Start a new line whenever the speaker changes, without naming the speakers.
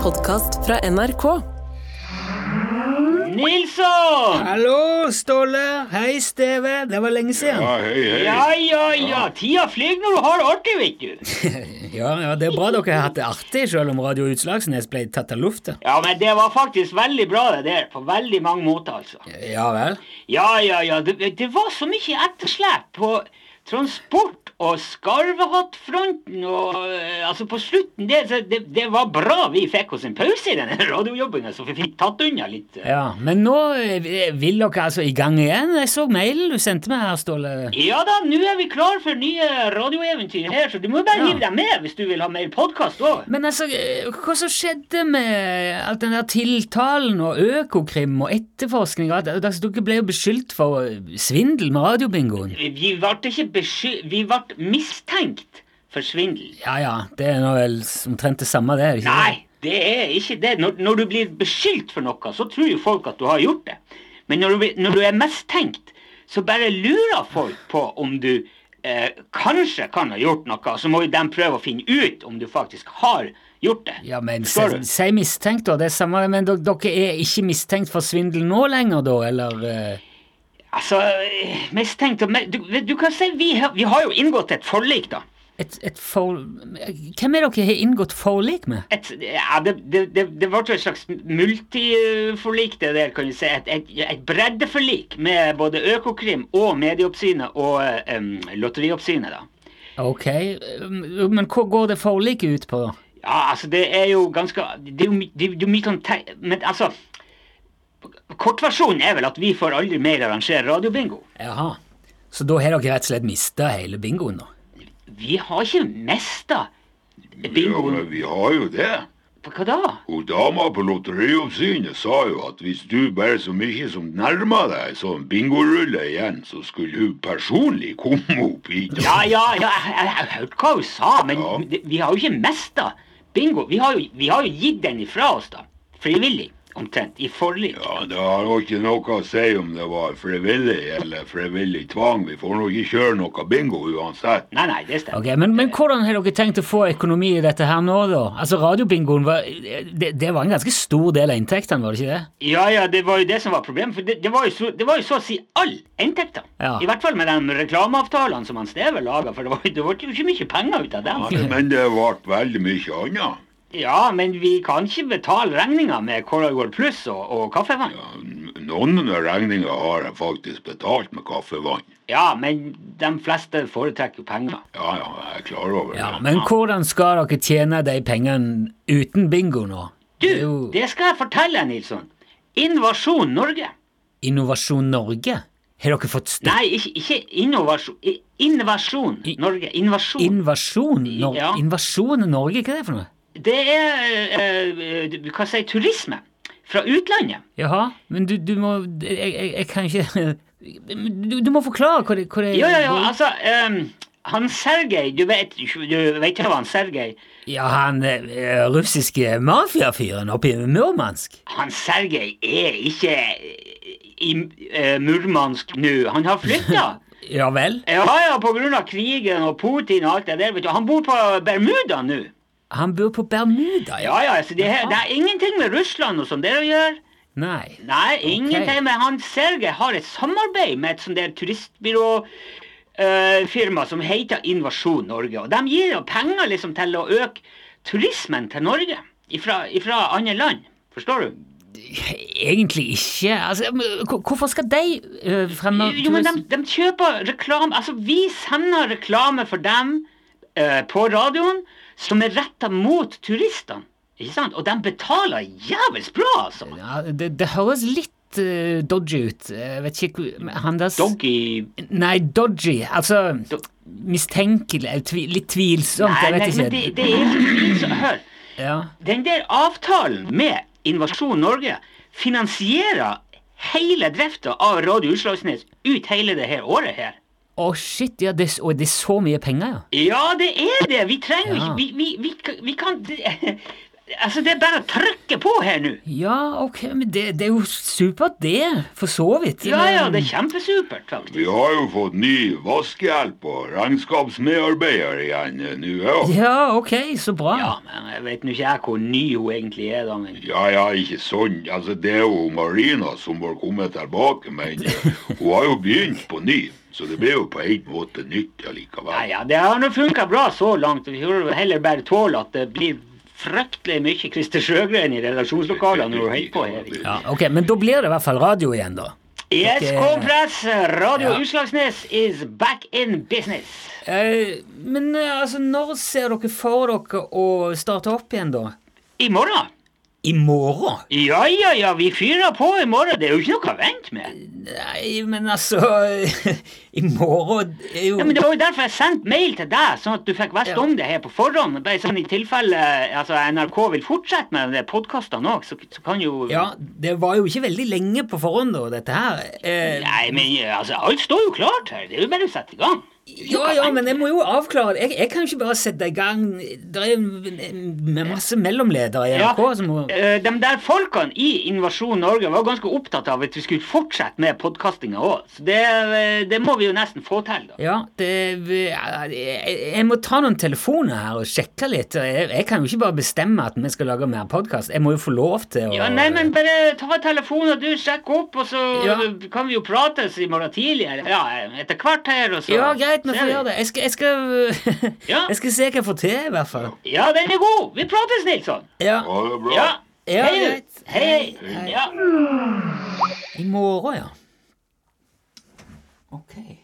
podkast fra NRK.
Nilsson!
Hallo, Ståle. Hei, Steve. Det var lenge siden.
Ja, hei, hei.
Ja, ja, ja. Tida flyr når du har det artig, vet du.
Ja, ja, Det er bra dere har hatt det artig, selv om Radio Utslagsnes ble tatt av lufta.
Ja, men det var faktisk veldig bra, det der. På veldig mange måter, altså.
Ja vel?
Ja, ja, ja. Det, det var så mye etterslep på transport og skarvehattfronten og eh, Altså, på slutten der, så det, det var bra vi fikk oss en pause i denne radiojobbinga, så vi fikk tatt unna litt. eh.
Ja, Men nå eh, vil dere altså i gang igjen? Jeg så mailen du sendte meg her, Ståle.
Ja da, nå er vi klar for nye radioeventyr her, så du må bare
Ja.
hive deg med hvis du vil ha mer podkast òg.
Men altså, eh, hva som skjedde med alt den der tiltalen og Økokrim og etterforskning? og alt det? Altså, dere ble jo beskyldt for eh, svindel med radiobingoen.
Vi ble ikke besky... Vi ble mistenkt for svindel.
Ja ja, det er nå vel omtrent det samme, det? er det ikke det?
Nei, det er ikke det. Når, når du blir beskyldt for noe, så tror jo folk at du har gjort det. Men når du, blir- når du er mistenkt, så bare lurer folk på om du eh, kanskje kan ha gjort noe. Så må jo de prøve å finne ut om du faktisk har gjort det.
Ja, men
Forstår
si
du?
si mistenkt, da. Det er samme, men dere, dere er ikke mistenkt for svindel nå lenger, da, eller eh,
Altså, eh, mistenkt og me- du, du kan si vi, har- vi har jo inngått et forlik, da.
et, et for... Hvem er dere har inngått forlik med?
et, ja, det, det, det, det ble et slags multiforlik, det der, kan du si. Et, et, et breddeforlik med både Økokrim og Medieoppsynet og eh, em, Lotterioppsynet, da.
Ok, um, men hva går det forliket ut på, da?
Ja, altså, det er jo ganske Det er jo, my- det, er jo- det er jo mye sånn te- Men altså Kortversjonen er vel at vi får aldri mer arrangere radiobingo.
Jaha. Så da har dere rett og slett mista hele bingoen, da?
Vi har ikke mista
Ja, men
bingoen.
vi har jo det.
Hva da?
Hun dama på lotterioppsynet sa jo at hvis du bare så mye som nærma deg en sånn bingorulle igjen, så skulle hun personlig komme opp hit.
Ja, ja, ja, jeg, jeg, jeg hørte hva hun sa, men
Ja.
det- vi har jo ikke mista bingo. Vi har, jo, vi har jo gitt den ifra oss, da. Frivillig, omtrent. I forlik.
Ja, Det har jo ikke noe å si om det var frivillig eller frivillig tvang. Vi får nå ikke kjøre noe bingo uansett.
Nei, nei, det stemmer.
Ok, men, men hvordan har dere tenkt å få økonomi i dette her nå, da? Altså, radiobingoen var Det, det var en ganske stor del av inntektene, var det ikke det?
Ja, ja, det var jo det som var problemet. For det, det, var, jo så, det var jo så å si all inntekta.
Ja.
I hvert fall med de reklameavtalene som han Steve laga, for det var, det var jo ikke mye penger ut av dem.
Men det ble veldig mye annet.
Ja, men vi kan ikke betale regninga med Coragord Pluss og, og kaffevann.
Ja, n- Noen regninger har jeg faktisk betalt med kaffevann.
Ja, men de fleste foretrekker jo penger.
Ja, ja, jeg er klar over det.
Ja, Men hvordan skal dere tjene de pengene uten bingo nå?
Du,
er jo
det skal jeg fortelle deg, Nilsson. Innovasjon Norge.
Innovasjon Norge? Har dere fått støtte?
Nei, ikke, ikke innovasjon. I- Innovasjon
I-
Norge. Innovasjon.
Invasjon Nor
Ja.
Invasjon Norge, hva er det for noe?
det er eh, eh, Hva sier turisme? Fra utlandet.
Jaha, men du, du må jeg, jeg, jeg kan ikke du, du må forklare hva det, hva det
Jo, jo, jo, altså ehm, Han Sergej, du vet Du vet ikke hva han Sergej
Ja, han eh, russiske mafiafyren oppe i Murmansk.
Han Sergej er ikke i eh, Murmansk nå. Han har flytta.
Ja vel?
ja, ja, på grunn av krigen og Putin og alt det der, vet du. Han bor på Bermuda nå.
Han bor på Bermuda,
Ja, ja, så det, her, det er ingenting med Russland og sånn der å gjøre.
Nei.
Nei, ingenting. Men han Sergej har et samarbeid med et sånt der turistbyrå. eh, firma som heter Invasjon Norge. Og de gir jo penger liksom til å øke turismen til Norge ifra, ifra andre land. Forstår du?
Egentlig ikke. Altså, men hvor- hvorfor skal de eh, fremme
Jo, men de, de kjøper reklame Altså, vi sender reklame for dem eh, på radioen som er retta mot turistene. Ikke sant? Og de betaler jævels bra, altså.
ja, det, det høres litt eh, dodgy ut. Jeg vet ikke hvor men Han der s-
Doggy
Nei, dodgy. Altså
Do-
mistenkelig, eller tvi, litt tvilsomt.
Nei,
jeg vet
nei,
ikke.
men det, det er så- så Hør.
Ja.
Den der avtalen med Invasjon Norge finansierer hele drifta av Radio Utslagsnes ut hele det her året her.
Å, shit, ja, det, og det er så mye penger, ja.
Ja, det er det! Vi trenger jo
Ja.
ikke vi, vi, vi, vi kan det- Altså, det er bare å trykke på her nå.
Ja, ok, men det, det er jo supert, det. For så vidt.
Ja, ja, det
Men-
er kjempesupert, faktisk.
Vi har jo fått ny vaskehjelp og regnskapsmedarbeider igjen eh, nå, ja.
Ja, ok, så bra.
Ja, men jeg vet nå ikke jeg hvor ny hun egentlig er, da, men
Ja, ja, ikke sånn. Altså, det er jo Marina som har kommet tilbake, men eh, hun har jo begynt på ny. Så det ble jo på en måte nytt
Ja,
allikevel.
ja, det har nå funka bra så langt. Vi får vel heller bare tåle at det blir fryktelig mye Christer Sjøgren i redaksjonslokalene når hun holder på her.
Ja, ok, Men da blir det i hvert fall radio igjen, da.
ESK Press, Radio
Ja.
Utslagsnes is back in business.
Eh, men eh, altså, når ser dere for dere å starte opp igjen, da?
I morgen?
I morgen?
Ja, ja, ja, vi fyrer på i morgen. Det er jo ikke noe å vente med.
Nei, men altså I morgen er jo
Ja, men Det var jo derfor jeg sendte mail til deg, sånn at du fikk visst
Ja.
om det her på forhånd. Bare sånn I tilfelle altså, NRK vil fortsette med de podkastene òg, så, så kan jo
Ja, det var jo ikke veldig lenge på forhånd, da, dette her. Eh,
Nei, men altså, alt står jo klart her. Det er jo bare å sette i gang.
ja, ja, men jeg må jo avklare det. Jeg, jeg kan jo ikke bare sette i gang Det er jo en- en masse mellomledere i
Ja.
NRK som må
Eh, de der folkene i Invasjon Norge var ganske opptatt av at vi skulle fortsette med podkastinga òg, så det, eh, det må vi jo nesten få til, da.
Ja, det jeg, jeg må ta noen telefoner her og sjekke litt. Jeg, jeg kan jo ikke bare bestemme at vi skal lage mer podkast. Jeg må jo få lov til å
Ja, nei, men bare ta telefonen, du, sjekk opp, og så
Ja.
kan vi jo prates i morgen tidlig. eller- Ja, etter hvert her, og så
Ja, greit, vi
ser
får gjøre det. Jeg skal, jeg skal,
Ja.
jeg skal se hva jeg får til, i hvert fall.
Ja, den er god! Vi prates, Nilsson!
Ja,
Ja, det er bra.
Ja.
Ja,
hei, du.
greit.
hei,
Hei.
hei. Ja.
I morgen, ja. Ok.